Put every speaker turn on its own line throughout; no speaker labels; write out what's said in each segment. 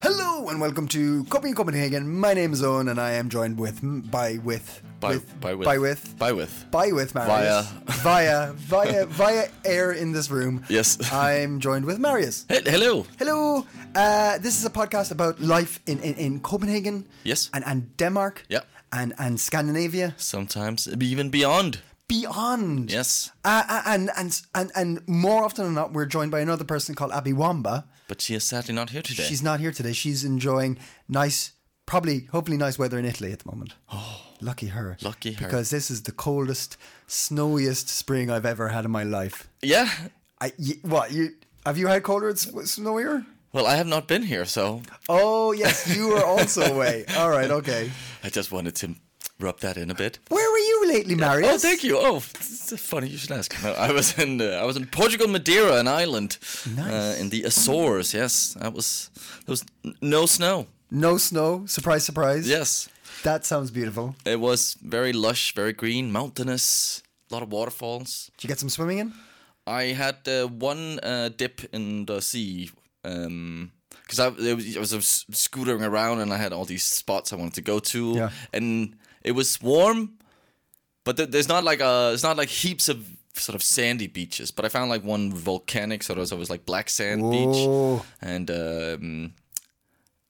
Hello and welcome to Copying Copenhagen. My name is Owen and I am joined with by with
By-
with
by with-
by with
by with.
by with Marius via via via air in this room.
Yes.
I'm joined with Marius.
He- hello.
Hello. Uh, this is a podcast about life in in, in Copenhagen.
Yes.
And and Denmark.
Yeah.
And and Scandinavia
Sometimes even beyond.
beyond.
Yes.
Uh, uh, and and and and more often than not, we're joined by another person called Abby Wamba.
But she is sadly not here today.
She's not here today. She's enjoying nice, probably, hopefully, nice weather in Italy at the moment. Oh, lucky her!
Lucky her.
Because this is the coldest, snowiest spring I've ever had in my life.
yeah.
I y- what you have you had colder and s- snowier?
Well, I have not been here, so
Oh yes, you were also away. All right, okay.
I just wanted to rub that in a bit.
Where were you lately, Marius?
Oh, thank you. Oh, it's funny you should ask. No, I was in uh, I was in Portugal, Madeira, an island uh,
Nice.
in the Azores. Yes, that was there was n- no snow.
No snow. Surprise, surprise.
Yes,
That sounds beautiful.
it was very lush, very green, mountainous, a lot of waterfalls.
Did you get some swimming in?
I had uh, one uh, dip in the sea because I, there was, I was s- scootering around and I had all these spots I wanted to go to,
Yeah.
and it was warm, but th- there's not like a it's not like heaps of sort of sandy beaches. But I found like one volcanic, so there was always like black sand
Whoa.
beach, and um,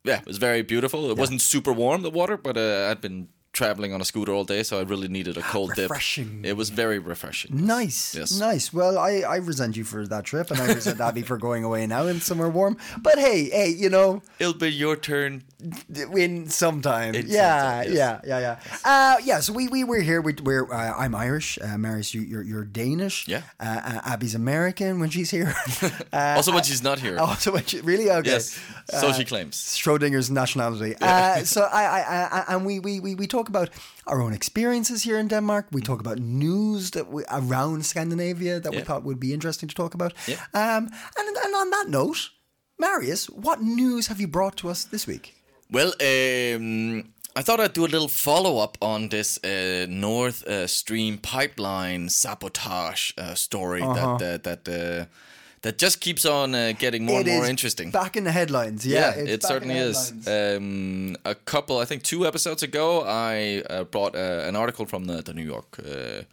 yeah, it was very beautiful. It wasn't super warm the water, but uh, I'd been traveling on a scooter all day, so I really needed a cold
Refreshing.
dip. It was very refreshing.
Nice,
Yes.
nice. Well, I, I resent you for that trip, and I resent Abby for going away now in somewhere warm. But hey, hey, you know,
It'll be your turn
in sometime.
In
yeah,
sometime, yes.
yeah, yeah, yeah, Uh, yeah. So we, we were here. We, we're uh, I'm Irish. Uh, Marius, you, you're you're Danish.
Yeah.
Uh, uh, Abby's American when she's here. uh,
also when she's not here.
also, when she, really okay.
yes. So
Uh,
she claims.
Schrodinger's nationality. Uh, so I, I, I, I and we, we, we, we talk about our own experiences here in Denmark. We talk about news that we, around Scandinavia that we
Yeah.
thought would be interesting to talk about.
Yeah.
Um, and, and on that note, Marius, what news have you brought to us this week?
Well, um, I thought I'd do a little follow up on this uh, North uh, Stream pipeline sabotage uh, story that uh, that uh, that just keeps on uh, getting more
Uh-huh. It
and more
is
interesting.
Back in the headlines.
yeah,
Yeah, it's
it
back in the
certainly is.
headlines.
Um, a couple, I think, two episodes ago, I uh, brought uh, an article from the, the New York, uh,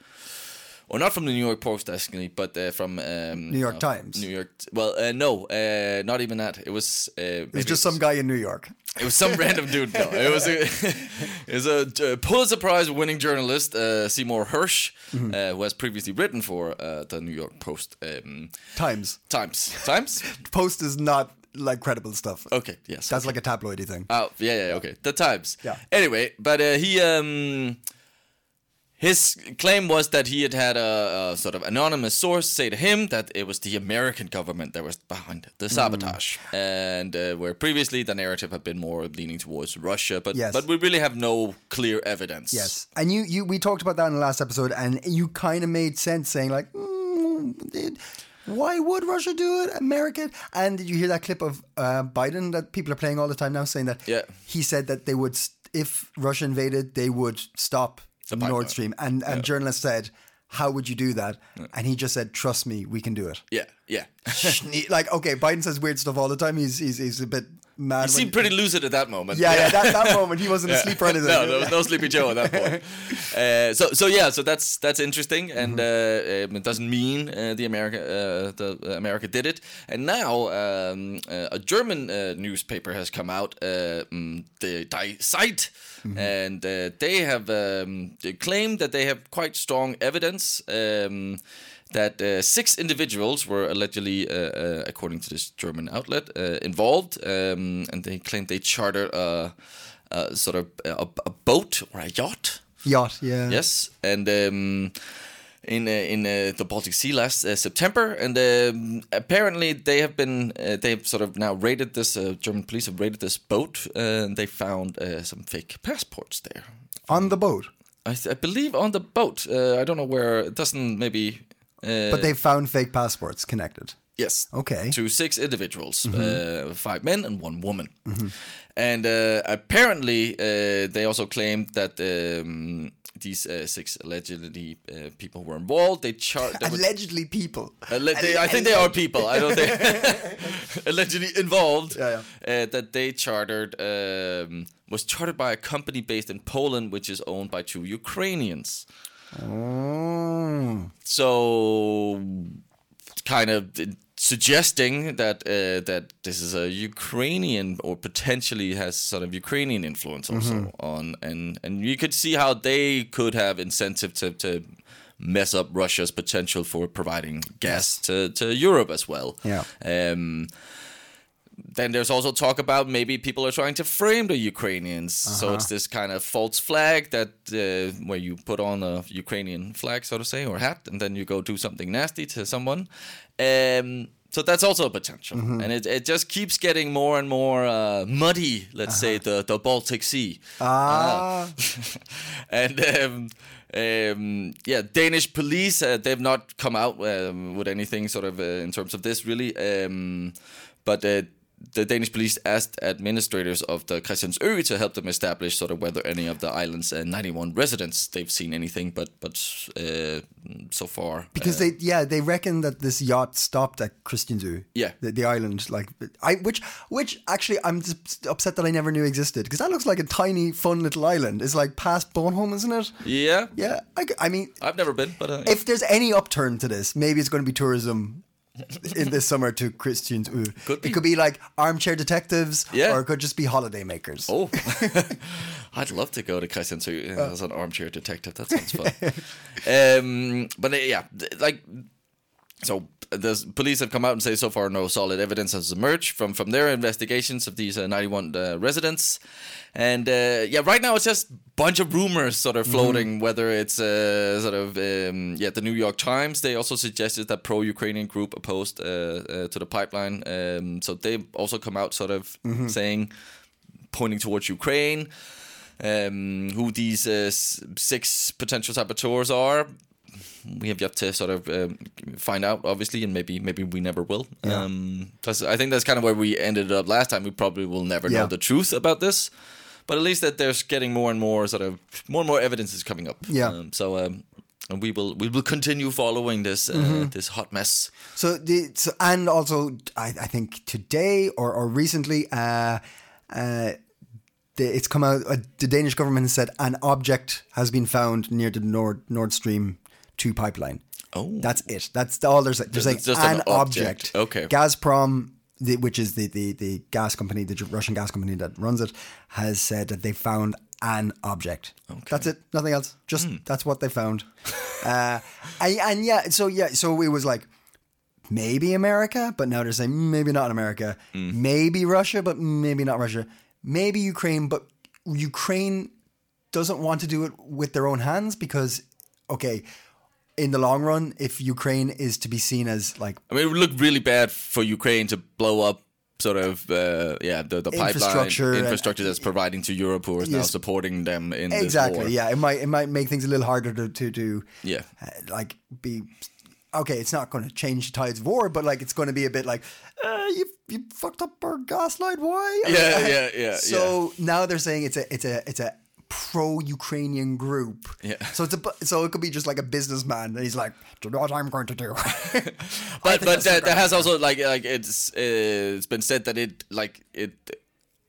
or not from the New York Post, actually, but uh, from um,
New York
uh,
Times.
New York. Well, uh, no, uh, not even that. It was. Uh,
It was just some guy in New York.
it was some random dude. No, it was a, it was a uh, Pulitzer Prize winning journalist, uh, Seymour Hirsch,
Mm-hmm.
uh, who has previously written for uh, the New York Post um,
Times.
Times. Times?
Post is not like credible stuff.
Okay, yes.
That's like a tabloidy thing.
Oh yeah, yeah, okay. The Times.
Yeah.
Anyway, but uh, he um, his claim was that he had had a, a sort of anonymous source say to him that it was the American government that was behind
Hmm.
the sabotage, and uh, where previously the narrative had been more leaning towards Russia, but
Yes.
but we really have no clear evidence.
Yes, and you you we talked about that in the last episode, and you kind of made sense saying like, mm, it- why would Russia do it? America? And did you hear that clip of uh, Biden that people are playing all the time now, saying that
Yeah.
he said that they would st- if Russia invaded, they would stop
pipeline.
Nord Stream, and and journalists said. How would you do that? And he just said, "Trust me, we can do it."
Yeah. Yeah.
Schne- like, okay, Biden says weird stuff all the time. He's he's, he's a bit mad.
He
when-
seemed pretty lucid at that moment.
yeah, yeah. That, that moment, he wasn't asleep or anything.
No, there was no Sleepy Joe at that point. Uh, so, so yeah, so that's that's interesting, and uh, um, it doesn't mean uh, the America uh, the uh, America did it. And now um, uh, a German uh, newspaper has come out, uh, mm, the Die Zeit, and uh, they have um, they claim that they have quite strong evidence. Um, that uh, six individuals were allegedly, uh, uh, according to this German outlet, uh, involved, um, and they claimed they chartered a, a sort of a, a boat or a yacht.
Yacht, yeah.
Yes, and um, in uh, in uh, the Baltic Sea last uh, September, and um, apparently they have been uh, they've sort of now raided this uh, German police have raided this boat, uh, and they found uh, some fake passports there.
on the boat.
I, th- I believe on the boat. Uh, I don't know where. It doesn't maybe. Uh,
But they found fake passports connected.
Yes.
Okay.
To six individuals, uh, five men and one woman. And uh, apparently, uh, they also claimed that um, these uh, six allegedly uh, people were involved. They charged.
Allegedly, people.
Alle- they, I think they are people. I don't think allegedly involved
Yeah,
Uh, that they chartered um, was chartered by a company based in Poland, which is owned by two Ukrainians.
Oh.
So, kind of suggesting that uh, that this is a Ukrainian or potentially has sort of Ukrainian influence also on and and you could see how they could have incentive to. to mess up Russia's potential for providing gas to, to Europe as well.
Yeah.
Um, then there's also talk about maybe people are trying to frame the Ukrainians. So it's this kind of false flag that uh, where you put on a Ukrainian flag, so to say, or hat, and then you go do something nasty to someone. Um, so that's also a potential, and it, it just keeps getting more and more uh, muddy. Let's say the the Baltic Sea.
Ah.
and um, um, yeah, Danish police uh, they've not come out um, with anything sort of uh, in terms of this really, um, but. Uh, the Danish police asked administrators of the Christiansø to help them establish sort of whether any of the island's uh, 91 residents they've seen anything, but but uh, so far
because they yeah they reckon that this yacht stopped at Christiansø.
Yeah.
the, the island like I which which actually I'm just upset that I never knew existed because that looks like a tiny fun little island. It's like past Bornholm, isn't it?
yeah,
Yeah, I, g- I mean
I've never been, but uh,
if there's any upturn to this, maybe it's going to be tourism. in this summer to Christiansø.
Could be.
It could be like armchair detectives,
Yeah.
or it could just be holidaymakers.
Oh, I'd love to go to Christiansø as an armchair detective. That sounds fun. um, but uh, yeah, th- like so, the s- police have come out and say so far no solid evidence has emerged from from their investigations of these uh, 91 uh, residents, and uh, yeah, right now it's just bunch of rumors sort of floating. Whether it's uh, sort of um, yeah, the New York Times they also suggested that pro-Ukrainian group opposed uh, uh, to the pipeline, um, so they also come out sort of saying pointing towards Ukraine, um, who these uh, s- six potential saboteurs are. We have yet to sort of um, find out, obviously, and maybe maybe we never will. Um, that's, I think that's kind of where we ended up last time. We probably will never know
Yeah.
the truth about this, but at least that there's getting more and more sort of more and more evidence is coming up.
Yeah.
Um, so um, and we will we will continue following this uh,
Mm-hmm.
this hot mess.
So the so, and also I, I think today or or recently uh uh the, it's come out uh, the Danish government has said an object has been found near the Nord Nord Stream 2 pipeline.
Oh.
That's it. That's all there's there's like
It's just
an,
an
object.
object. Okay.
Gazprom the, which is the, the, the gas company, the Russian gas company that runs it, has said that they found an object. That's it. Nothing else. Just
Hmm.
that's what they found. uh, and, and yeah, so yeah, so it was like maybe America, but now they're saying maybe not America,
Hmm.
maybe Russia, but maybe not Russia, maybe Ukraine, but Ukraine doesn't want to do it with their own hands because, okay, in the long run, if Ukraine is to be seen as like
I mean, it would look really bad for Ukraine to blow up sort of uh, yeah the, the pipeline
Infrastructure and-
infrastructure that's providing to Europe, who is now
Yes.
supporting them in
exactly,
this war.
yeah, it might it might make things a little harder to to do,
Yeah.
uh, like be. Okay, it's not going to change the tides of war, but like it's going to be a bit like, uh, you you fucked up our gaslight. Why?
Yeah, yeah, yeah. yeah.
So now they're saying it's a it's a it's a pro Ukrainian group.
Yeah.
So it's a bu- so it could be just like a businessman and he's like, do you know what I'm going to do?
but but that, that has also like like it's uh, it's been said that it like it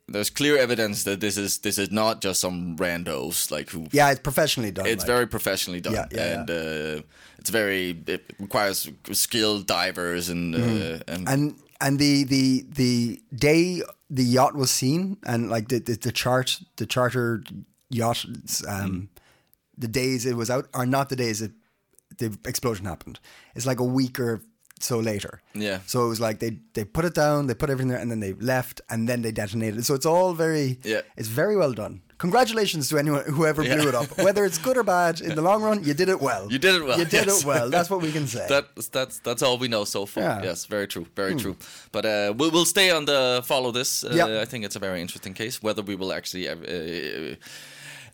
there's clear evidence that this is this is not just some randos like who
yeah, it's professionally done.
It's
like.
very professionally done,
Yeah, yeah,
and Uh, it's very it requires skilled divers and uh, and
and and the the the day the yacht was seen and like the the, the chart the charter yacht
Mm.
um the days it was out are not the days it the explosion happened it's like a week or so later
Yeah.
so it was like they they put it down they put everything there and then they left and then they detonated it so it's all very
Yeah.
it's very well done congratulations to anyone whoever blew it up whether it's good or bad in the long run you did it well
You did it well,
you did
yes.
it well that's what we can say
That's that's that's all we know so far.
Yeah. Hmm.
Yes, very true, very true. But uh, we will stay on the follow this. Uh,
Yeah.
I think it's a very interesting case. Whether we will actually uh, uh,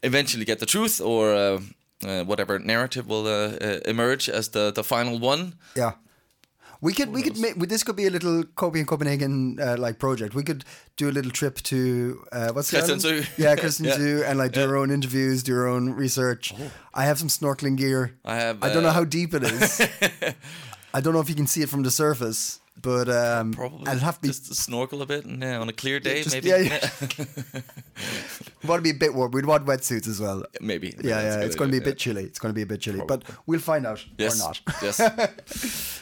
eventually get the truth or uh, uh, whatever narrative will uh, uh, emerge as the the final one.
Yeah. We could we could make this could be a little Kobe and Copenhagen uh, like project. We could do a little trip to uh, what's the island?
Christiansø.
Yeah, Kristen
Yeah. Oh.
and like do your own interviews, do your own research. I have some snorkeling gear.
I have,
I don't know
uh,
how deep it is. I don't know if you can see it from the surface, but um,
Probably
I'll have to be
just snorkel a bit and, yeah, on a clear day,
just-
maybe.
yeah, yeah. want to be a bit warm. We'd want wetsuits as well.
maybe. Maybe
Yeah,
that's
yeah,
good
it's going to
idea,
be a
yeah.
bit chilly. It's going to be a bit chilly, but we'll find out
Yes.
or not.
yes.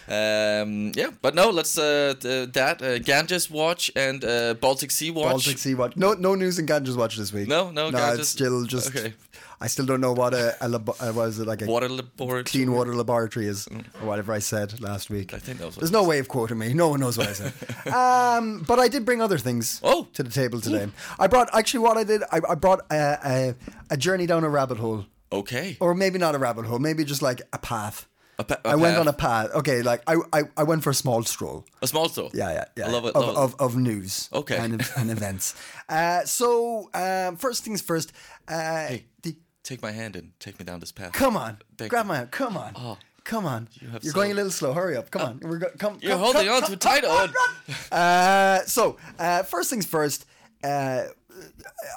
Um, yeah, but no, let's uh, th- that uh, Ganges watch and uh, Baltic Sea watch.
Baltic Sea Watch. No, no news in Ganges Watch this week.
No, no,
no.
Ganges-
It's still just.
okay.
I still don't know what a, a labo- uh, what is it like a
water laboratory. Mm.
clean water laboratory is or whatever I said last week.
I think that was what
There's no way of quoting me. No one knows what I said. um, but I did bring other things
Oh.
to the table today. I brought actually what I did. I, I brought a, a, a journey down a rabbit hole,
Okay.
or maybe not a rabbit hole. Maybe just like a path.
A pa-
I
a
went
path.
on a path. Okay, like I, I, I went for a small stroll.
A small store.
Yeah, yeah, yeah.
I love it.
Of,
love it.
of, of news.
Okay.
And, ev- and events. Uh, so, um, first things first. Uh, the,
Take my hand and take me down this path.
come on.
Thank
grab
you. Oh.
my hand. Come on. Come on. You
have
are going a
so- Uh,
little slow. Hurry up. Come on. We're go- come,
You're
come,
holding
come,
on
come,
too tight.
come,
On.
uh, so, uh, first things first, uh,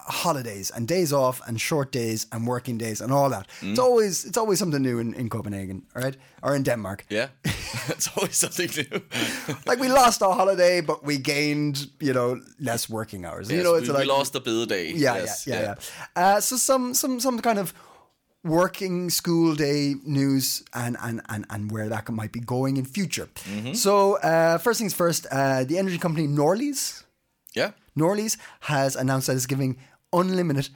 holidays and days off and short days and working days and all that. It's
Mm.
always it's always something new in, in Copenhagen, all right? Or in Denmark.
Yeah, it's always something new.
Like we lost our holiday, but we gained, you know, less working hours. you
Yes,
know, it's
we,
like
we lost a bit day.
yeah,
yes,
yeah, yeah, yeah. Uh, so some some some kind of working school day news and and and, and where that might be going in future.
Mm-hmm.
So uh, first things first, uh, the energy company Norlys
yeah.
Norlys has announced that it's giving unlimited,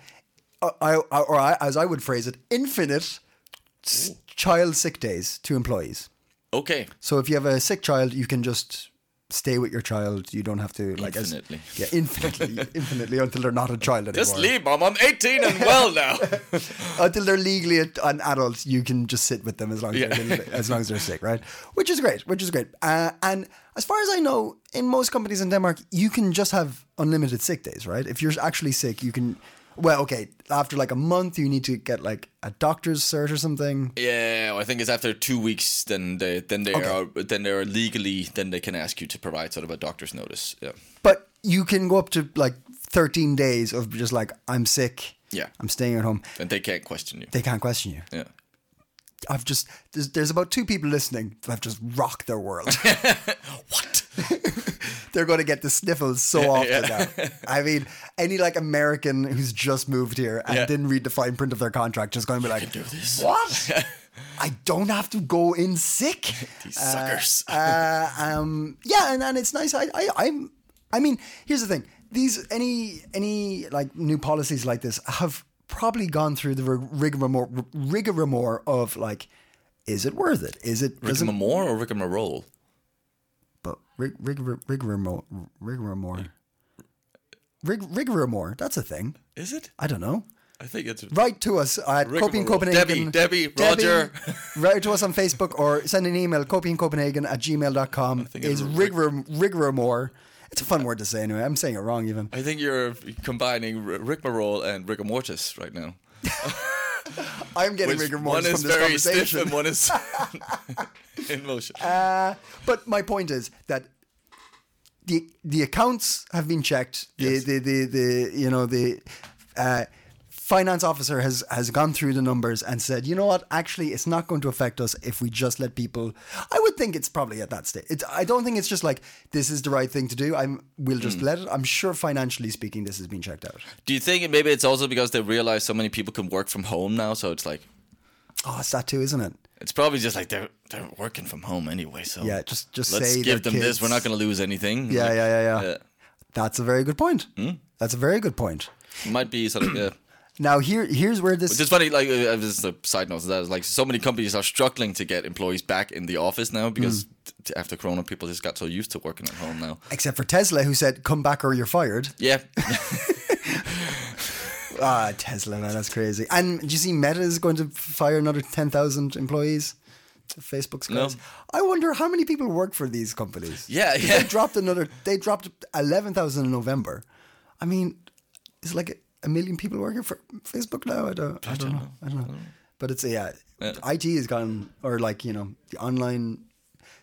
uh, I, I- or I, as I would phrase it, infinite s- child sick days to employees.
Okay.
So if you have a sick child, you can just stay with your child. You don't have to like as-
Infinitely.
yeah, infinitely, infinitely until they're not a child anymore.
Just leave, mom. I'm 18 and well now.
until they're legally a, an adult, you can just sit with them as long as, they're, a little bit- as long as they're sick, right? Which is great, which is great. Uh, and as far as I know, in most companies in Denmark, you can just have unlimited sick days, right? If you're actually sick, you can. Well, okay, after like a month, you need to get like a doctor's cert or something.
yeah, I think it's after two weeks. Then they then they are then they are legally then they can ask you to provide sort of a doctor's notice. Yeah.
But you can go up to like 13 days of just like I'm sick.
Yeah.
I'm staying at home.
And they can't question you.
They can't question you.
yeah.
I've just there's, there's about two people listening that have just rocked their world.
What?
they're going to get the sniffles so often now. I mean, any like American who's just moved here and
Yeah.
didn't read the fine print of their contract is going to be like, "What? I don't have to go in sick."
These suckers.
uh, um, yeah, and, and it's nice. I, I I'm I mean, here's the thing: these any any like new policies like this have probably gone through the rig- rigmarole rigmarole of like, is it worth it? Is it does it
Rigmarole or rigmarole?
but rig rig rig- rigmarole rigmarole rig rigmarole that's a thing
Is it?
i don't know
I think it's.
write to us at copy in
Rigmarole.
copenhagen
Debbie, Debbie, Roger.
write to us on facebook or send an email copy in copenhagen at gmail.com
think
is
it's
rig rigmarole it's a fun word to say anyway i'm saying it wrong even
I think you're combining ri- rigmarole and rigor mortis right now.
i'm getting
Which
rigmarole
one
from
is
this
very stiff
conversation Uh,
and one is in motion.
But my point is that the the accounts have been checked. The
Yes.
the, the the you know the uh, finance officer has has gone through the numbers and said, you know what? Actually, it's not going to affect us if we just let people. I would think it's probably at that stage. It's, I don't think it's just like this is the right thing to do. I'm we'll just
Mm.
let it. I'm sure financially speaking, this has been checked out.
Do you think maybe it's also because they realize so many people can work from home now? So it's like
Oh, it's that too, isn't it?
it's probably just like they're they're working from home anyway. So
Yeah, just just
let's
say
give
their
them this. We're
kids-
not going to lose anything.
Yeah,
Like,
yeah, yeah, yeah. That's a very good point.
Hmm?
That's a very good point.
Might be sort of. Yeah.
Now here here's where this
It's just funny, like uh, this is a side note to that. Is like so many companies are struggling to get employees back in the office now
Mm.
because t- after Corona, people just got so used to working at home now.
except for Tesla, who said, "Come back or you're fired."
Yeah,
Ah, Tesla, man, that's crazy. And do you see Meta is going to fire another ten thousand employees? Facebook's
No.
guys. I wonder how many people work for these companies.
Yeah,
'Cause
yeah.
They dropped another. They dropped eleven thousand in November. I mean, it's like a, a million people working for Facebook now. I don't. I don't know. I don't know. But it's yeah, IT has gone or like you know the online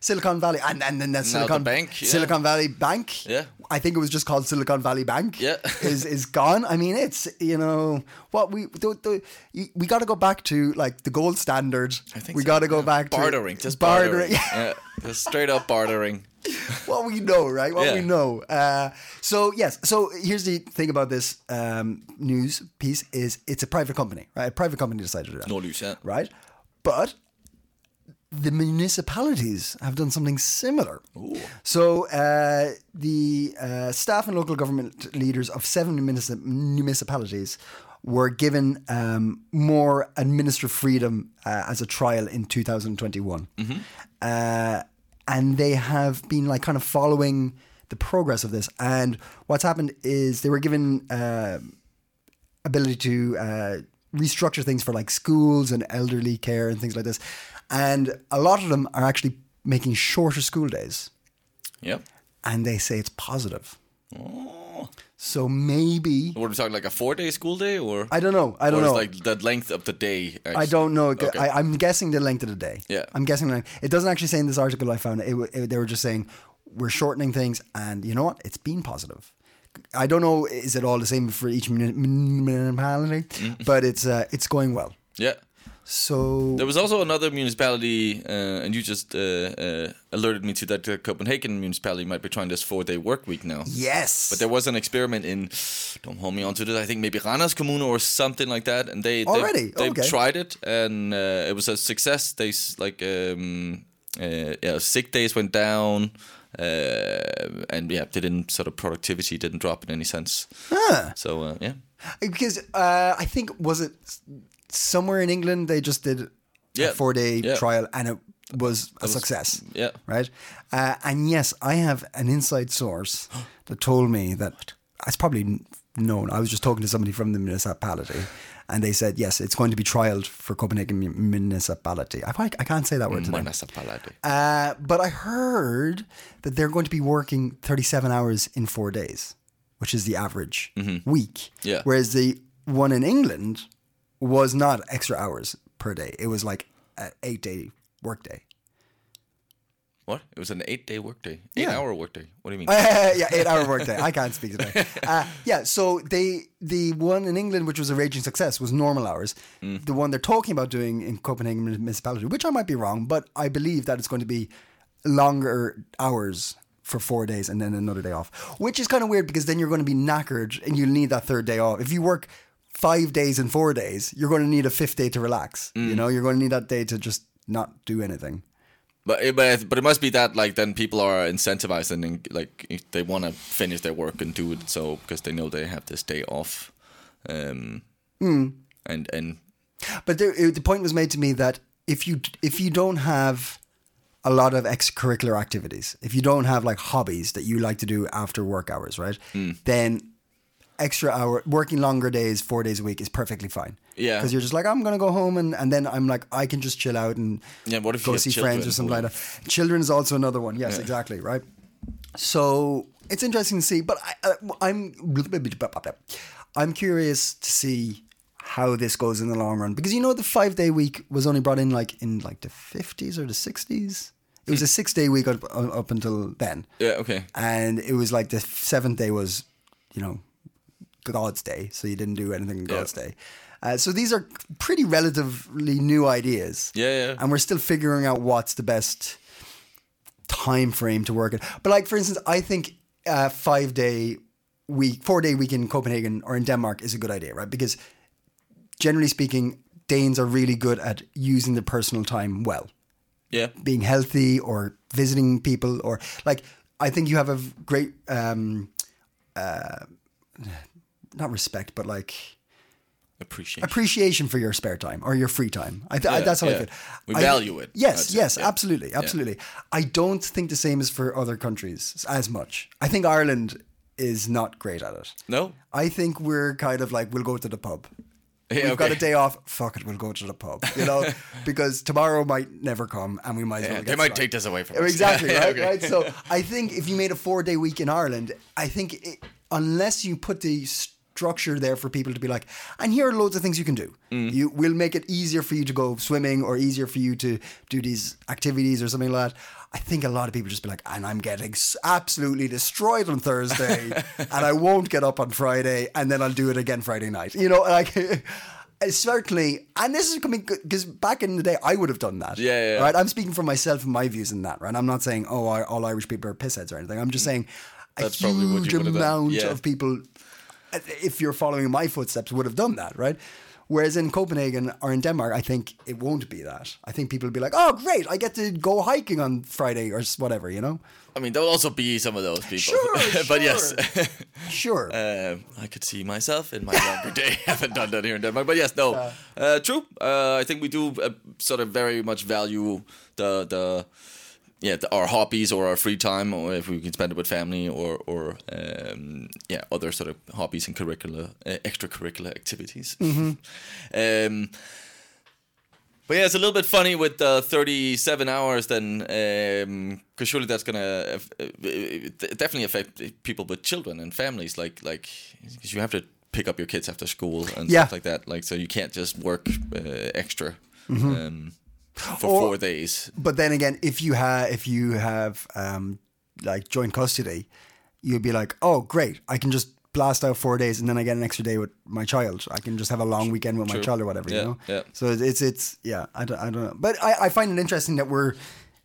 Silicon Valley and and then that's
Now the
Silicon
bank, yeah.
Silicon Valley Bank.
Yeah.
I think it was just called Silicon Valley Bank.
Yeah.
is is gone. I mean, it's you know what we the, the, you- we got to go back to like the gold standard.
I think
we
so,
got to go
yeah.
back to
bartering, just bartering,
bartering.
yeah, just straight up bartering.
what we know, right? What we
Yeah.
know. Uh, so yes. So here's the thing about this um, news piece: is it's a private company, right? A private company decided to do that,
No loose, yeah.
right? But the municipalities have done something similar. So uh, the uh, staff and local government leaders of seven munici- municipalities were given um, more administrative freedom uh, as a trial in 2021. Uh, and they have been like kind of following the progress of this. And what's happened is they were given uh, ability to uh, restructure things for like schools and elderly care and things like this. And a lot of them are actually making shorter school days,
Yep.
and they say it's positive.
Oh.
So maybe
What are we talking like a four day school day or
I don't know. I don't
or is
know.
like the length of the day?
I
actually?
don't know.
Okay.
I, I'm guessing the length of the day.
Yeah.
I'm guessing the length. It doesn't actually say in this article I found. It, wa- it, they were just saying we're shortening things, and you know what? It's been positive. I don't know. Is it all the same for each muni- municipality?
Mm.
But it's uh, it's going well.
Yeah.
So
There was also another municipality, uh, and you just uh, uh, alerted me to that the Copenhagen municipality might be trying this four day work week now.
yes,
But there was an experiment in, don't hold me onto this. I think maybe Ranas Kommune or something like that, and they
Already?
they, they've
Okay.
tried it and uh, it was a success. They s- like um, uh, yeah, sick days went down, uh, and yeah, they didn't sort of productivity didn't drop in any sense.
Huh.
So uh, yeah,
because uh, I think was it s- somewhere in England they just did a
Yeah.
four day
Yeah.
trial and it was a success.
yeah.
Right. Uh, and yes, I have an inside source that told me that it's probably n- known. I was just talking to somebody from the municipality, and they said yes, it's going to be trialed for Copenhagen mu- municipality. I, I can't say
Mm,
that word today.
Municipality.
Uh, but I heard that they're going to be working 37 hours in four days, which is the average week.
Yeah.
Whereas the one in England was not extra hours per day. It was like an eight day workday.
What? It was an eight-day workday, eight-hour workday. What do you mean?
yeah, eight hour workday. I can't speak today. Uh, yeah, so they the one in England, which was a raging success, was normal hours. The one they're talking about doing in Copenhagen municipality, which I might be wrong, but I believe that it's going to be longer hours for four days and then another day off, which is kind of weird because then you're going to be knackered and you'll need that third day off. If you work five days and four days, you're going to need a fifth day to relax. You know, you're going to need that day to just not do anything.
But it- but it- but it must be that like then people are incentivized and then, like if they want to finish their work and do it so because they know they have this day off, um,
Hmm.
and and
But there, it- the point was made to me that if you if you don't have a lot of extracurricular activities, if you don't have like hobbies that you like to do after work hours, right?
Mm.
Then extra hour working longer days, four days a week is perfectly fine.
Yeah.
because you're just like I'm gonna go home and and then I'm like I can just chill out and
Yeah, what if
go
you have
see
children
friends or something
who-
like that. Children is also another one. Yes, exactly. Right. So it's interesting to see, but I, I, I'm I'm curious to see how this goes in the long run because you know the five day week was only brought in like in like the 50s or the 60s. It was a six day week up, up until then,
yeah okay
and it was like the seventh day was, you know, God's day, so you didn't do anything on God's day. Uh, so these are pretty relatively new ideas
yeah yeah
and we're still figuring out what's the best time frame to work it. But like for instance, I think uh, five day week, four day week in Copenhagen or in Denmark is a good idea, right? Because generally speaking, Danes are really good at using their personal time well,
yeah
being healthy or visiting people or like. I think you have a v- great, um, uh, not respect, but like
appreciate
appreciation for your spare time or your free time. I th- I,
Yeah,
that's how I
yeah.
feel.
We
I-
value it,
Yes,
I'd say,
yes,
yeah.
absolutely, absolutely. I don't think the same is for other countries as much. I think Ireland is not great at it.
no
I think we're kind of like we'll go to the pub.
Yeah,
We've got a
okay.
day off. Fuck it, we'll go to the pub. You know, because tomorrow might never come, and we might. as well
Yeah,
get
they
started.
might take this away from
Oh,
us
Exactly,
Yeah,
right?
okay.
right? So I think if you made a four day week in Ireland, I think it, unless you put the structure there for people to be like, and here are loads of things you can do.
Mm.
You will make it easier for you to go swimming or easier for you to do these activities or something like that. I think a lot of people just be like, and I'm getting s- absolutely destroyed on Thursday, and I won't get up on Friday, and then I'll do it again Friday night. You know, like. uh, Certainly, and this is coming because back in the day, I would have done that.
Yeah, yeah, yeah.
Right? I'm speaking for myself and my views in that, right? I'm not saying, oh, I- all Irish people are pissheads or anything. I'm just saying a
Mm. That's probably what
huge
you would have done.
amount
Yeah.
of people, if you're following my footsteps, would have done that, right? Whereas in Copenhagen or in Denmark, I think it won't be that. I think people will be like, oh, great, I get to go hiking on Friday or s- whatever, you know?
I mean, there will also be some of those people.
Sure,
but yes,
Sure.
um, I could see myself in my younger day. I haven't done that here in Denmark, but yes, no, uh, true. Uh, I think we do uh, sort of very much value the the yeah the, our hobbies or our free time, or if we can spend it with family or or um, yeah other sort of hobbies and curricular uh, extracurricular activities. um, but yeah, it's a little bit funny with uh, 37 hours then, because surely that's gonna uh, f- uh, uh, definitely affect people with children and families, like like because you have to pick up your kids after school and
Yeah.
stuff like that. Like so, you can't just work uh, extra um, for
Mm-hmm. Or-
four days.
but then again, if you have if you have um, like joint custody, you'd be like, oh great, I can just blast out four days and then I get an extra day with my child. I can just have a long weekend with my
True.
child or whatever, you
Yeah,
know.
yeah.
So it's it's yeah, I don't, I don't know, but I, I find it interesting that we're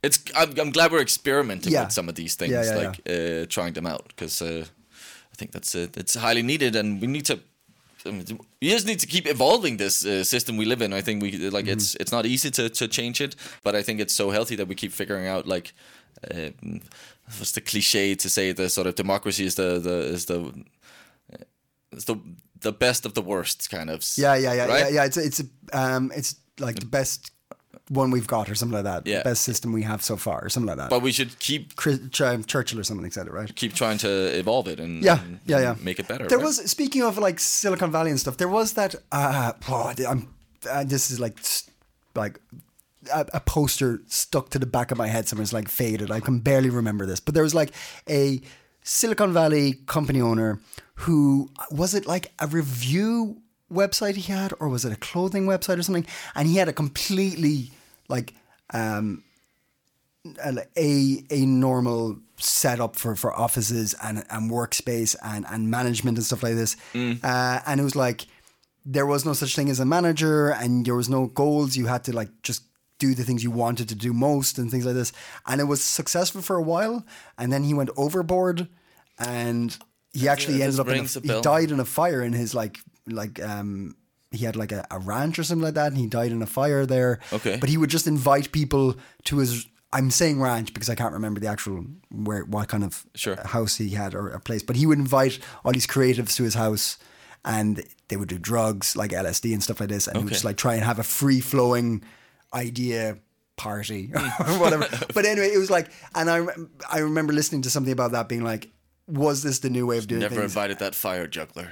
It's I'm, I'm glad we're experimenting
Yeah.
with some of these things,
Yeah, yeah,
like Uh, trying them out, because uh, I think that's uh, it's highly needed, and we need to. I mean, we just need to keep evolving this uh, system we live in. I think we like
Mm-hmm.
it's it's not easy to, to change it, but I think it's so healthy that we keep figuring out like uh, what's the cliche to say the sort of democracy is the the is the it's the the best of the worst kind of s-
yeah yeah yeah
right?
yeah yeah. It's it's um it's like the best one we've got or something like that.
Yeah.
The best system we have so far or something like that.
But we should keep
Chris, Ch- Churchill or something said it right.
keep trying to evolve it and
Yeah,
and
yeah, yeah.
make it better.
There
right?
was speaking of like Silicon Valley and stuff. There was that. Uh, oh, I'm. Uh, this is like, s- like, a, a poster stuck to the back of my head. Somewhere's like faded. I can barely remember this, but there was like a Silicon Valley company owner who uh, was it like a review website he had, or was it a clothing website or something? And he had a completely like a a- a normal setup for for offices and and workspace and and management and stuff like this.
Mm.
Uh, and it was like there was no such thing as a manager, and there was no goals. You had to like just do the things you wanted to do most and things like this. And it was successful for a while, and then he went overboard, and he actually
this
ended up in
rings
a,
a
he
bell.
died in a fire in his like like um he had like a, a ranch or something like that and he died in a fire there
Okay.
but he would just invite people to his I'm saying ranch because I can't remember the actual where what kind of
Sure.
house he had or a place, but he would invite all these creatives to his house and they would do drugs like LSD and stuff like this and he would
Okay.
just like try and have a free flowing idea party or whatever. but anyway, it was like and I rem- I remember listening to something about that being like was this the new way of doing
Never
things?
invited that fire juggler.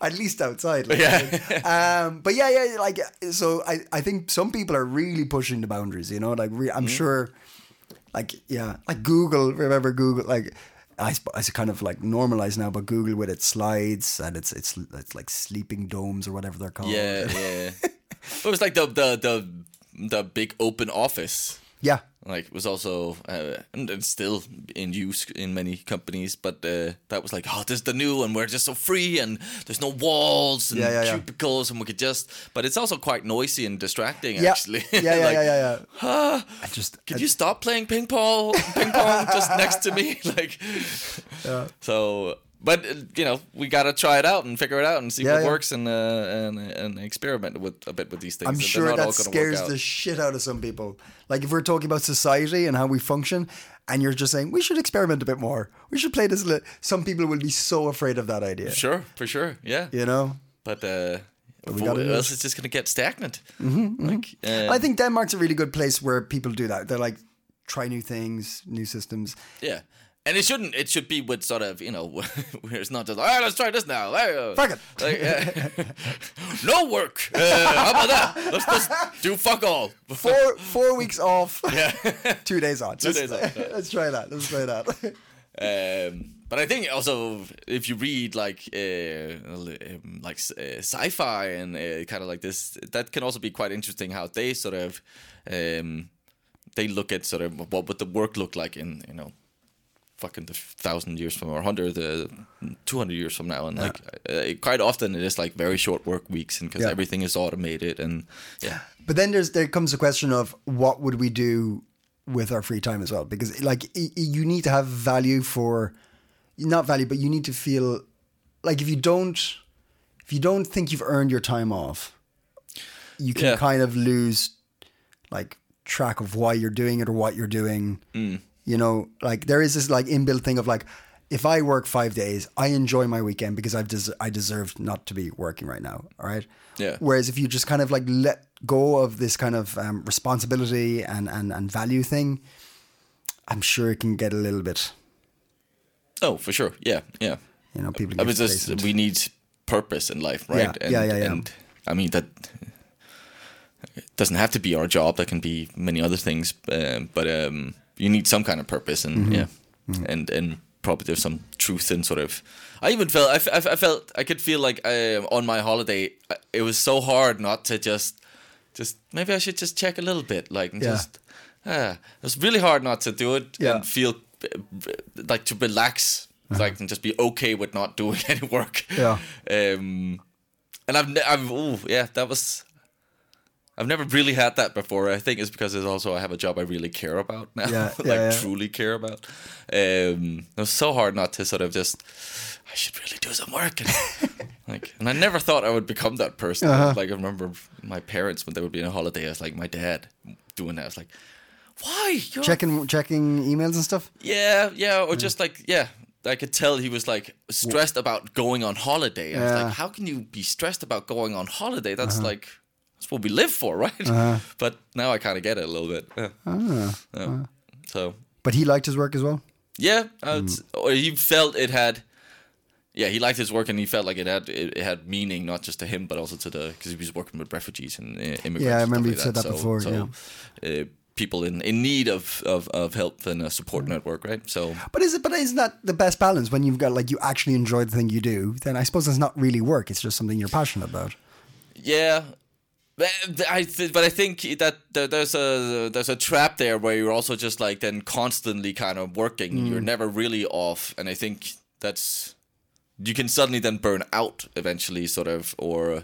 At least outside. Like,
Yeah.
um, but yeah, yeah, like so. I, I think some people are really pushing the boundaries. You know, like re-
Mm.
I'm sure, like yeah, like Google. Remember Google? Like I, sp- it's kind of like normalized now, but Google with its slides and it's it's it's like sleeping domes or whatever they're called.
Yeah, yeah. But it was like the the the the big open office.
yeah,
Like was also uh, and, and still in use in many companies, but uh, that was like, oh, this is the new, and we're just so free, and there's no walls and
Yeah, yeah, yeah.
cubicles, and we could just. But it's also quite noisy and distracting,
yeah,
actually.
yeah, yeah, yeah,
Like,
yeah, yeah. I just
Could you stop playing ping pong? Ping pong just next to me, like. So, but uh, you know, we gotta try it out and figure it out and see
Yeah,
what
yeah.
works and, uh, and and experiment with a bit with these things.
I'm
They're
sure
not all
that
gonna work
scares
out.
the shit out of some people. Like if we're talking about society and how we function, and you're just saying we should experiment a bit more, we should play this. Li-. Some people will be so afraid of that idea.
Sure, for sure, yeah.
You know,
But uh, for-
gotta do
else it's just gonna get stagnant. Like, uh,
I think Denmark's a really good place where people do that. They're like try new things, new systems.
yeah. And it shouldn't. It should be with sort of you know, where it's not just all right. Let's try this now. Uh,
Fuck it.
Like, yeah. no work. Uh, how about that? Let's just do fuck all.
Four four weeks off,
Yeah.
two days on. Two
days off, yeah.
Let's try that. Let's try that.
Um, but But I think also if you read like uh, um, like uh, sci-fi and uh, kind of like this, that can also be quite interesting how they sort of um, they look at sort of what would the work look like in you know fucking the thousand years from or hundred, uh, two hundred years from now, and like uh, quite often it is like very short work weeks, and because
Yeah.
everything is automated and yeah.
But then there's there comes the question of what would we do with our free time as well? Because like i- i- you need to have value for not value, but you need to feel like if you don't if you don't think you've earned your time off, you can
Yeah.
kind of lose like track of why you're doing it or what you're doing.
Mm.
You know, like there is this like inbuilt thing of like if I work five days, I enjoy my weekend because I've des- I deserved not to be working right now. All right.
Yeah.
Whereas if you just kind of like let go of this kind of um, responsibility and, and and value thing, I'm sure it can get a little bit.
Oh, for sure. Yeah, yeah.
You know, people.
I
get
mean, just
complacent.
we need purpose in life, right?
Yeah, yeah, yeah, yeah.
And I mean that it doesn't have to be our job. That can be many other things, um, but um, you need some kind of purpose, and
Mm-hmm.
yeah, and and probably there's some truth in sort of. I even felt I, f- I f- I felt I could feel like um on my holiday. I- It was so hard not to just just maybe I should just check a little bit, like and
Yeah.
just. ah, it was really hard not to do it
Yeah.
and feel like to relax, like and just be okay with not doing any work.
Uh-huh. Yeah.
Um, and I've, ne- I've, ooh, yeah, that was. I've never really had that before. I think it's because it's also I have a job I really care about now,
Yeah,
like
yeah, yeah.
truly care about. Um, it was so hard not to sort of just. I should really do some work, and, like, and I never thought I would become that person.
Uh-huh.
Like I remember my parents when they would be on a holiday. I was like my dad doing that. I was like, why? You're
checking checking emails and stuff.
yeah, yeah,
Hmm.
or just like yeah, I could tell he was like stressed about going on holiday. I was
Yeah. Uh-huh.
like, how can you be stressed about going on holiday? That's like that's what we live for, right? But now I kind of get it a little bit. Yeah.
Ah,
Yeah.
uh-huh.
So
But he liked his work as well.
yeah, uh,
Hmm.
it's- or he felt it had. Yeah, he liked his work, and he felt like it had it, it had meaning not just to him, but also to the because he was working with refugees and uh, immigrants.
Yeah, I
and
remember you've
stuff like
said that before,
So, yeah. uh, people in, in need of, of, of help and a support network, right? So
But is it? But isn't that the best balance when you've got like you actually enjoy the thing you do? Then I suppose it's not really work. It's just something you're passionate about.
Yeah. But I th- but I think that there- there's a there's a trap there where you're also just like then constantly kind of working.
Mm.
You're never really off, and I think that's you can suddenly then burn out eventually, sort of, or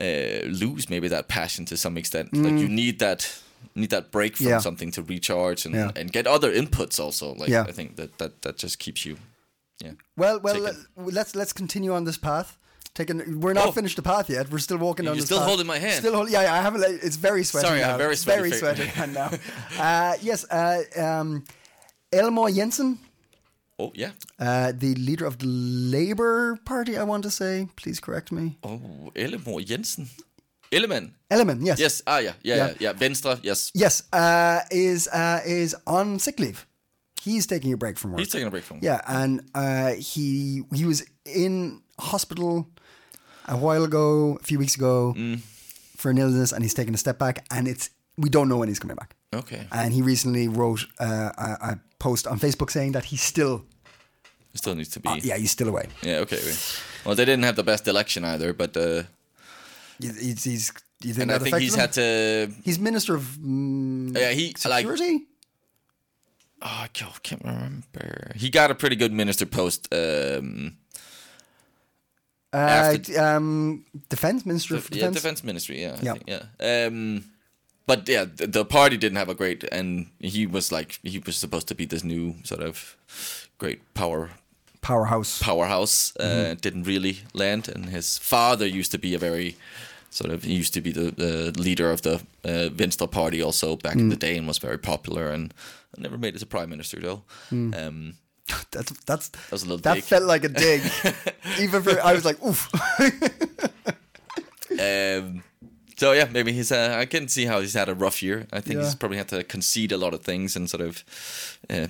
uh, lose maybe that passion to some extent. Like you need that need that break from
Mm. Yeah.
something to recharge and,
Yeah.
and get other inputs also. Like
Yeah.
I think that, that that just keeps you, yeah.
Well, well,
Taken.
let, let's let's continue on this path. Taking, we're not
Oh.
finished the path yet. We're still walking down.
You're
this
still
path.
holding my hand.
Still holding. Yeah, yeah, I haven't. let- It's very sweaty.
Sorry,
now.
I'm very
It's
sweaty.
Very sweaty hand now. Uh, yes, uh, um, Elmore Jensen,
Oh yeah.
uh, the leader of the Labour Party. I want to say. Please correct me.
Oh Ellemor Jensen, Ellemann.
Elleman. Yes.
Yes. Ah, yeah, yeah,
Yeah.
yeah, yeah. Venstre. Yes.
Yes. Uh, is uh, is on sick leave. He's taking a break from work.
He's taking a break from.
Yeah, and uh, he he was in hospital a while ago, a few weeks ago,
Mm.
for an illness, and he's taken a step back, and it's we don't know when he's coming back.
Okay.
And he recently wrote uh, a, a post on Facebook saying that he's still
It still needs to be. uh, yeah.
yeah he's still away.
Okay. okay. Well, they didn't have the best election either, but uh,
He's, he's you think
and I
that
think
affected
he's
him?
had to.
he's minister of mm,
Yeah, he like.
security.
Oh, I can't- can't remember. He got a pretty good minister post. Um,
uh,
after-
d- um, defense minister of
yeah,
defense.
defense ministry. Yeah. I
Yeah.
think, yeah. Um, but yeah, the, the party didn't have a great, and he was like he was supposed to be this new sort of great power
powerhouse.
powerhouse uh,
Mm-hmm.
didn't really land and his father used to be a very sort of he used to be the, the leader of the uh, Venstre party also back in the
Mm.
day and was very popular and never made it to prime minister though
Mm.
um,
That's that's
that was a little
that
dig.
felt like a dig. Even for I was like oof.
um, so yeah maybe he's uh, I can see how he's had a rough year I think he's
Yeah.
probably had to concede a lot of things and sort of uh,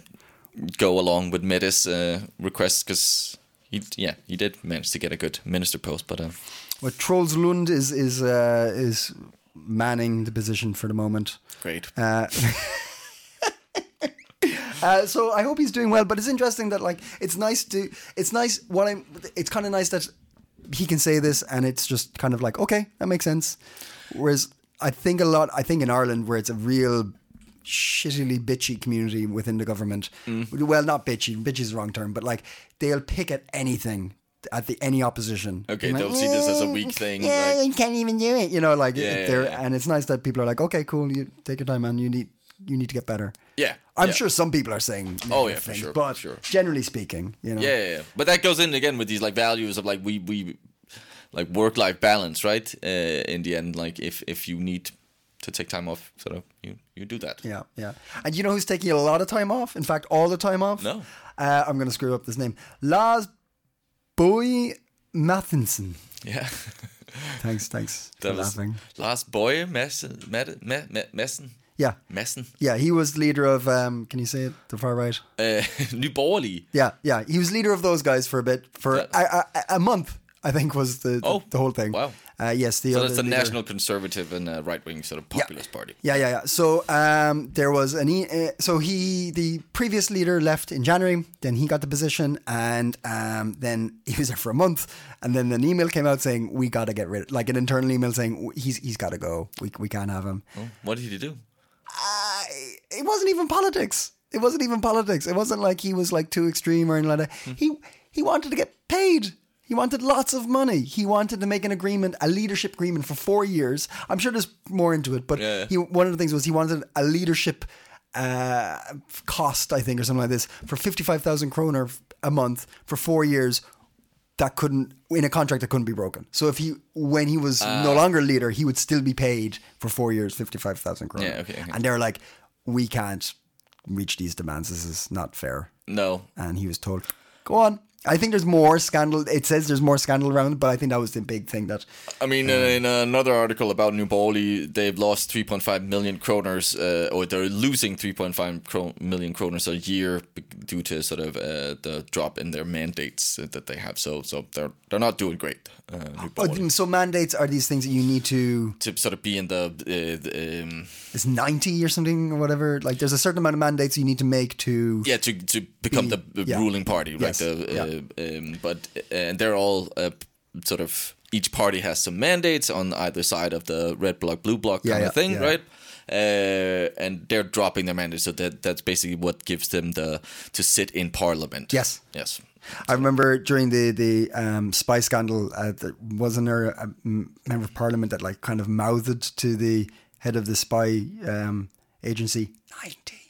go along with Metis uh, requests because he yeah he did manage to get a good minister post but uh,
Well, Trollslund is is uh, is manning the position for the moment.
great
Uh, Uh, so I hope he's doing well. But it's interesting that like it's nice to it's nice what I'm. It's kind of nice that he can say this, and it's just kind of like okay, that makes sense. Whereas I think a lot. I think in Ireland, where it's a real shittily bitchy community within the government.
Mm.
Well, not bitchy. Bitchy is the wrong term, but like they'll pick at anything. At the any opposition,
Okay,
Like,
they'll see this as a weak thing,
Yeah,
like-
you can't even do it. You know, like
Yeah, yeah,
they're
yeah.
and it's nice that people are like, okay, cool, you take your time, man. You need you need to get better.
Yeah,
I'm
yeah.
sure some people are saying. negative
Oh, yeah, for
things,
sure,
But
for sure.
generally speaking, you know.
Yeah, yeah, yeah. But that goes in again with these like values of like we we like work life balance, right? Uh, in the end, like if if you need to take time off, sort of you you do that.
Yeah, yeah. And you know who's taking a lot of time off? In fact, all the time off?
No.
Uh, I'm going to screw up this name. Lars Boy Matheson.
Yeah.
Thanks, thanks
That
for
was
laughing.
last boy Messen Med- Me- Me- Messen
Yeah.
Messen
Yeah, he was leader of, um, can you say it? The far right?
uh, New Borgerlige.
Yeah, yeah. He was leader of those guys for a bit, for
Yeah.
a, a, a month, I think was the, the,
Oh,
the whole thing.
wow.
Uh, yes, the
So
other
that's the
leader-
national conservative and uh, right wing sort of populist party.
Yeah, yeah, yeah. So um, there was an. E- uh, so he, the previous leader, left in January. Then he got the position, and um, then he was there for a month. And then an email came out saying we got to get rid, like an internal email saying "W- he's he's got to go. We we can't have him.
Oh, what did he do?
I, it wasn't even politics. It wasn't even politics. It wasn't like he was like too extreme or anything like that.
Hmm.
He he wanted to get paid. He wanted lots of money. He wanted to make an agreement, a leadership agreement for four years. I'm sure there's more into it, but
Yeah.
he one of the things was he wanted a leadership uh, cost, I think, or something like this, for fifty five thousand kroner a month for four years. That couldn't in a contract that couldn't be broken. So if he when he was
Ah.
no longer leader, he would still be paid for four years, fifty five thousand kroner.
Yeah, okay, okay.
And they're like, we can't reach these demands. This is not fair.
No.
And he was told, go on. I think there's more scandal. It says there's more scandal around, but I think that was the big thing that.
I mean, uh, in another article about New Borley, they've lost 3.5 million kroners, uh, or they're losing 3.5 kro- million kroners a year be- due to sort of uh, the drop in their mandates uh, that they have. So, so they're they're not doing great. Uh, New
Oh,
Borley.
so mandates are these things that you need to.
To sort of be in the, uh, the um,
It's ninety or something or whatever. Like there's a certain amount of mandates you need to make to.
yeah, to to become the the
Mm. yeah.
ruling party, right?
Yes,
The, uh, um, but and they're all uh, sort of each party has some mandates on either side of the red block, blue block
Yeah,
kind of
yeah,
thing,
yeah.
right? Uh, and they're dropping their mandates, so that that's basically what gives them the to sit in parliament.
Yes.
yes,
I remember during the the um, spy scandal, uh, there wasn't there a m- member of parliament that like kind of mouthed to the head of the spy um, agency ninety,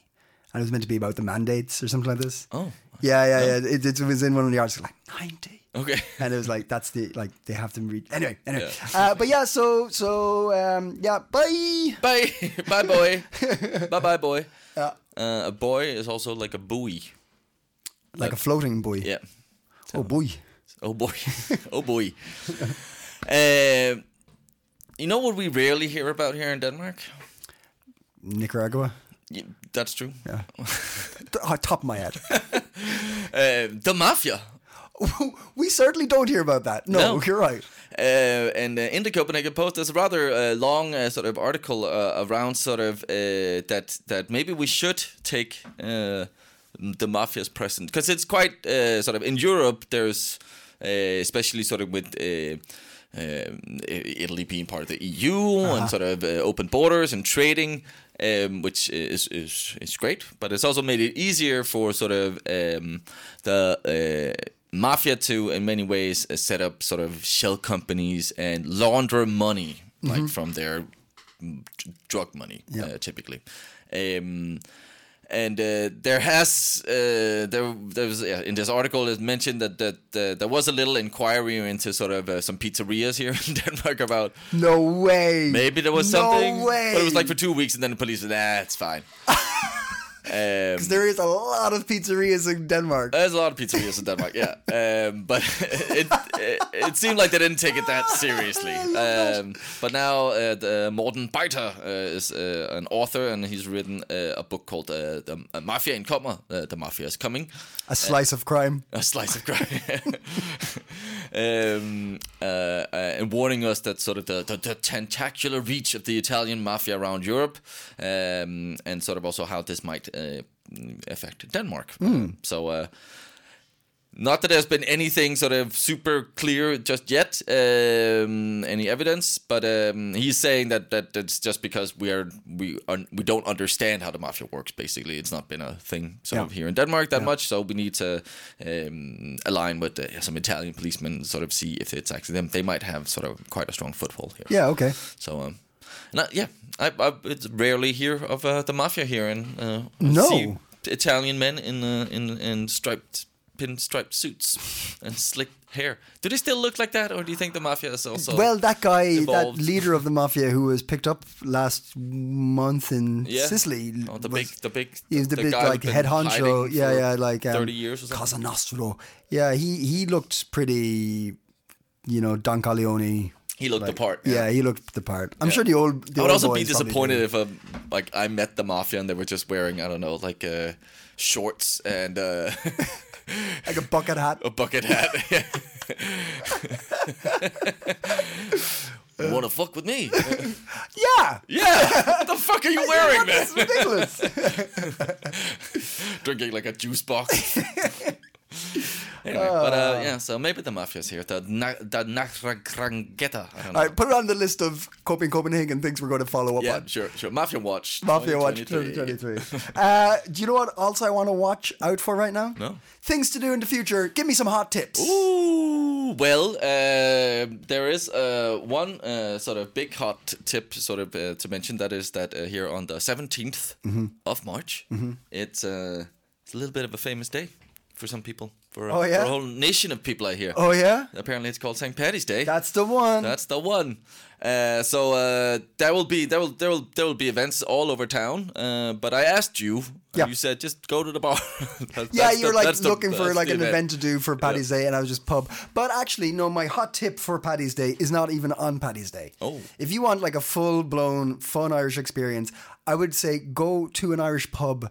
and it was meant to be about the mandates or something like this.
Oh.
yeah, yeah, yeah. It, it was in one of the articles like ninety.
okay.
And it was like that's the like they have to read anyway anyway uh, but yeah so so um, yeah bye
bye, bye, boy. bye, bye, boy. Uh, a boy is also like a buoy.
like a floating buoy
Yeah.
oh buoy
Oh boy. oh boy. Um you know what we rarely hear about here in Denmark?
Nicaragua
Y- That's true.
yeah oh, top of my head
Uh, the mafia.
we certainly don't hear about that. No,
No.
you're right.
Uh, and uh, in the Copenhagen Post, there's a rather uh, long uh, sort of article uh, around sort of uh, that that maybe we should take uh, the mafia's present because it's quite uh, sort of in Europe. There's uh, especially sort of with. Uh, um, I- Italy being part of the EU and sort of uh, open borders and trading, um, which is, is is great, but it's also made it easier for sort of um, the uh, mafia to, in many ways, uh, set up sort of shell companies and launder money like from their mm, d- drug money, uh, typically. Um, and uh, there has uh, there there was yeah, in this article it mentioned that that uh, there was a little inquiry into sort of uh, some pizzerias here in Denmark about
No way.
maybe there was
no
something,
way.
but it was like for two weeks, and then the police said, "Nah, it's fine." um,
there is a lot of pizzerias in Denmark.
there's a lot of pizzerias in Denmark, yeah. Um, but it, it it seemed like they didn't take it that seriously. Um, but now uh, the Morten Beiter uh, is uh, an author, and he's written uh, a book called uh, "The Mafia in Kommer," uh, "The Mafia is Coming,"
a slice of crime.
a slice of crime, um, uh, uh, and warning us that sort of the, the, the tentacular reach of the Italian mafia around Europe, um, and sort of also how this might uh, affect Denmark. Um, so. Uh, not that there's been anything sort of super clear just yet, um, any evidence, but um, he's saying that that that's just because we are we un, we don't understand how the mafia works. Basically, it's not been a thing sort
Yeah.
of here in Denmark that much, so we need to um, align with uh, some Italian policemen, sort of see if it's actually them. They might have sort of quite a strong foothold here.
Yeah, okay.
So, um, and I, yeah, I, I it's rarely hear of uh, the mafia here, and uh,
No.
see Italian men in uh, in in striped pinstriped suits and slick hair. Do they still look like that, or do you think the mafia is also
well, that guy,
evolved.
that leader of the mafia who was picked up last month in
Yeah.
Sicily,
Oh, the
was-
big, the big,
he was the, big
guy who'd
like
been
head honcho.
hiding
Yeah,
for
yeah, like um,
thirty years or something.
Cosa Nostra. Yeah, he he looked pretty, you know, Don Corleone.
He looked
like-
the part.
Yeah. he looked the part. I'm sure the old. The
I would
old
also be
boys probably
disappointed
did.
if um, like I met the mafia and they were just wearing I don't know like uh, shorts and uh,
like a bucket hat.
a bucket hat. you want to fuck with me?
Yeah,
yeah. What the fuck are you wearing, man?
that's ridiculous.
Drinking like a juice box. anyway, but uh, yeah, so maybe the mafia's here. The na- the Nachrangrangeta. I don't know.
All right, put it on the list of coping Copenhagen things we're going to follow up
yeah,
on.
sure, sure. Mafia Watch.
Mafia Watch
2023.
2023. uh, do you know what else I want to watch out for right now?
No.
Things to do in the future. Give me some hot tips.
Ooh, well, uh, there is uh, one uh, sort of big hot tip, sort of uh, to mention. That is that uh, here on the 17th
Mm-hmm.
of March, it's uh, it's a little bit of a famous day for some people, for a,
Oh, yeah?
for a whole nation of people, I hear.
Oh, yeah?
Apparently, it's called St. Patty's Day.
That's the one.
That's the one. Uh, so uh, there will be there will there will there will be events all over town. Uh, but I asked you, and
Yeah.
you said just go to the bar. That-
yeah,
that's
you're
the-
like
that's the-
looking for
that's
like an
the
event. to do for Paddy's Day, and I was just pub. But actually, no, my hot tip for Paddy's Day is not even on Paddy's Day.
Oh.
If you want like a full blown fun Irish experience, I would say go to an Irish pub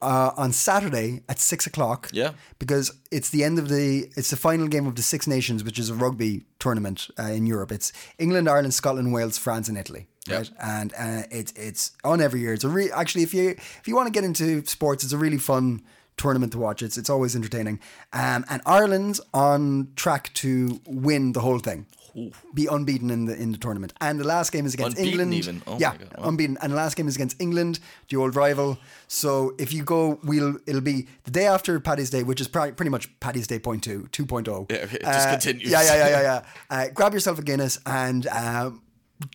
uh, on Saturday at six o'clock.
Yeah.
Because it's the end of the it's the final game of the Six Nations, which is a rugby tournament uh, in Europe. It's England, Ireland, Scotland, Wales, France, and Italy. Right. And uh, it's it's on every year. It's a re- actually if you if you want to get into sports, it's a really fun tournament to watch. It's it's always entertaining. Um, and Ireland's on track to win the whole thing. Be unbeaten in the in the tournament. And the last game is against
Unbeaten
England.
even? Oh my
yeah,
God.
unbeaten. And the last game is against England, the old rival. So if you go, we'll it'll be the day after Paddy's Day, which is pri- pretty much Paddy's Day point two, 2.0.
Yeah, okay, it just continues.
Yeah, yeah, yeah, yeah, yeah. Uh, grab yourself a Guinness and um,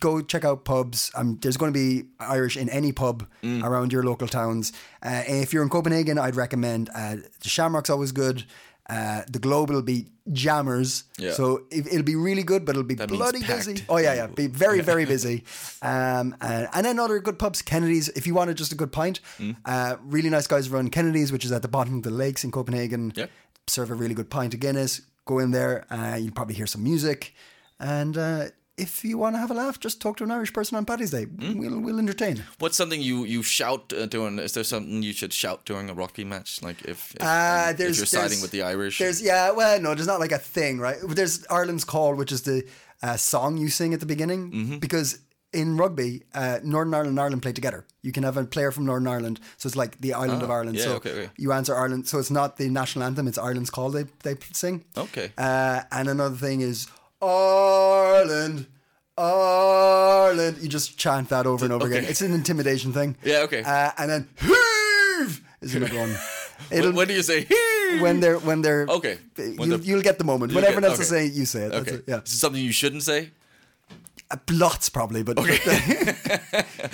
go check out pubs. Um, there's going to be Irish in any pub
Mm.
around your local towns. Uh, if you're in Copenhagen, I'd recommend uh, the Shamrock's always good. Uh, the Globe will be jammers,
Yeah.
so it, it'll be really good, but it'll be
means
bloody busy.
packed.
Oh yeah, yeah, be very very busy. Um, and, and then other good pubs, Kennedy's. If you wanted just a good pint, uh, really nice guys run Kennedy's, which is at the bottom of the lakes in Copenhagen.
Yeah.
Serve a really good pint of Guinness. Go in there, uh, you'll probably hear some music, and uh, if you want to have a laugh, just talk to an Irish person on Paddy's Day. We'll we'll entertain.
What's something you you shout uh, during? Is there something you should shout during a rugby match? Like if if,
Uh,
um,
there's-
if you're
there's-
siding with the Irish,
There's yeah, well, no, there's not like a thing, right? There's Ireland's call, which is the uh, song you sing at the beginning,
Mm-hmm.
because in rugby, uh, Northern Ireland and Ireland play together. You can have a player from Northern Ireland, so it's like the island of Ireland.
Oh, yeah,
so
okay, okay.
you answer Ireland, so it's not the national anthem; it's Ireland's call they they sing.
Okay.
Uh, and another thing is Ireland. Ireland, you just chant that over and over
Okay.
again. It's an intimidation thing.
Yeah, okay.
Uh, and then heave is another one. It'll
when, when do you say "Hey!"
when they're when they're
Okay. When
you,
the-
you'll get the moment when
get-
everyone else is
okay.
saying it, you say it. That's
Okay,
it. Yeah,
Is it something you shouldn't say?
Uh, lots probably, but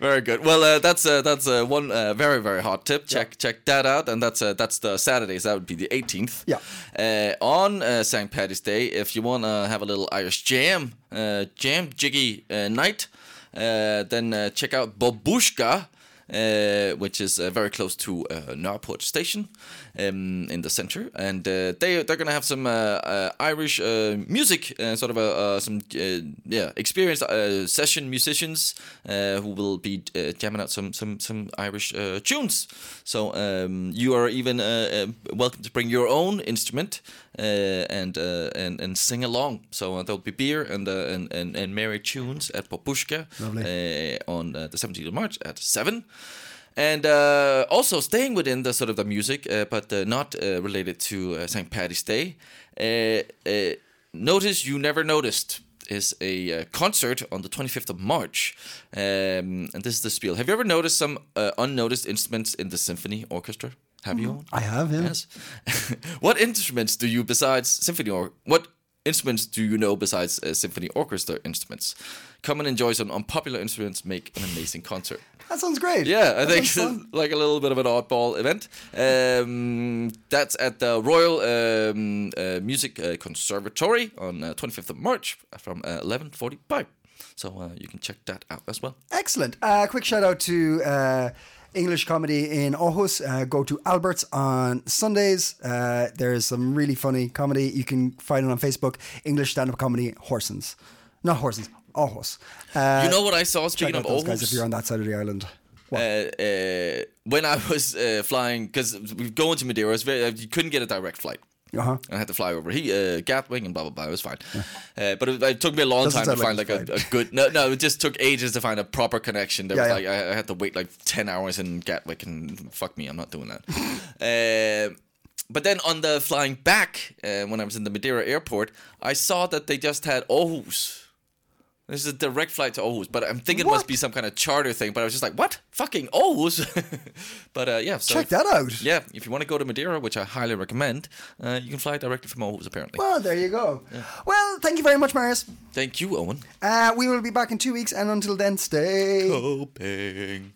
Very good. Well, uh, that's uh, that's uh, one uh, very very hot tip. Check check that out, and that's uh, that's the Saturdays. That would be the 18th.
Yeah.
Uh, on uh, St. Patty's Day, if you want to have a little Irish jam, uh, jam jiggy uh, night, uh, then uh, check out Babushka. Uh, which is uh, very close to uh, Narport station um, in the center, and uh, they they're gonna have some uh, uh, Irish uh, music, uh, sort of a, uh, some uh, yeah experienced uh, session musicians uh, who will be uh, jamming out some some some Irish uh, tunes. So um, you are even uh, uh, welcome to bring your own instrument uh, and uh, and and sing along. So uh, there'll be beer and uh, and, and and merry tunes at Popushka
Lovely.
uh, on uh, the 17th of March at seven. and uh, also staying within the sort of the music, uh, but uh, not uh, related to uh, St. Patty's Day. Uh, uh, Notice you never noticed is a uh, concert on the 25th of March, um, and this is the spiel. Have you ever noticed some uh, unnoticed instruments in the symphony orchestra? Have you?
I have, yeah.
Yes. what instruments do you besides symphony or what instruments do you know besides uh, symphony orchestra instruments? Come and enjoy some unpopular instruments. Make an amazing concert.
That sounds great.
Yeah, I
That sounds
think
fun.
like a little bit of an oddball event. Um, that's at the Royal um, uh, Music uh, Conservatory on uh, 25th of March from uh, 11:45. So uh, you can check that out as well.
Excellent. Uh, quick shout out to uh, English comedy in Aarhus. Uh, go to Albert's on Sundays. Uh, there is some really funny comedy. You can find it on Facebook. English stand up comedy Horsens, not Horsens, Aarhus. Uh,
you know what I saw
check
speaking of
out those guys if
Aarhus?
you're on that side of the island. What?
uh, uh, when I was uh, flying, because we go into Madeira, it's very, uh, you couldn't get a direct flight.
Uh-huh.
I had to fly over he, uh, Gatwick and blah blah blah. It was fine, uh, but it, it took me a long
Doesn't
time to
sound
find
like
like
it's
a, a good. No, no, it just took ages to find a proper connection. There
Yeah,
was
yeah.
like I, I had to wait like ten hours in Gatwick, and fuck me, I'm not doing that. Um but then on the flying back, uh, when I was in the Madeira airport, I saw that they just had Aarhus. There's a direct flight to Aarhus, but I'm thinking it
What?
must be some kind of charter thing. But I was just like, what? Fucking Aarhus. but uh, yeah, so
Check
if-
that out.
Yeah, if you want to go to Madeira, which I highly recommend, uh, you can fly directly from Aarhus, apparently.
Well, there you go. Well, thank you very much, Marius.
Thank you, Owen.
Uh, we will be back in two weeks, and until then, stay.
Coping.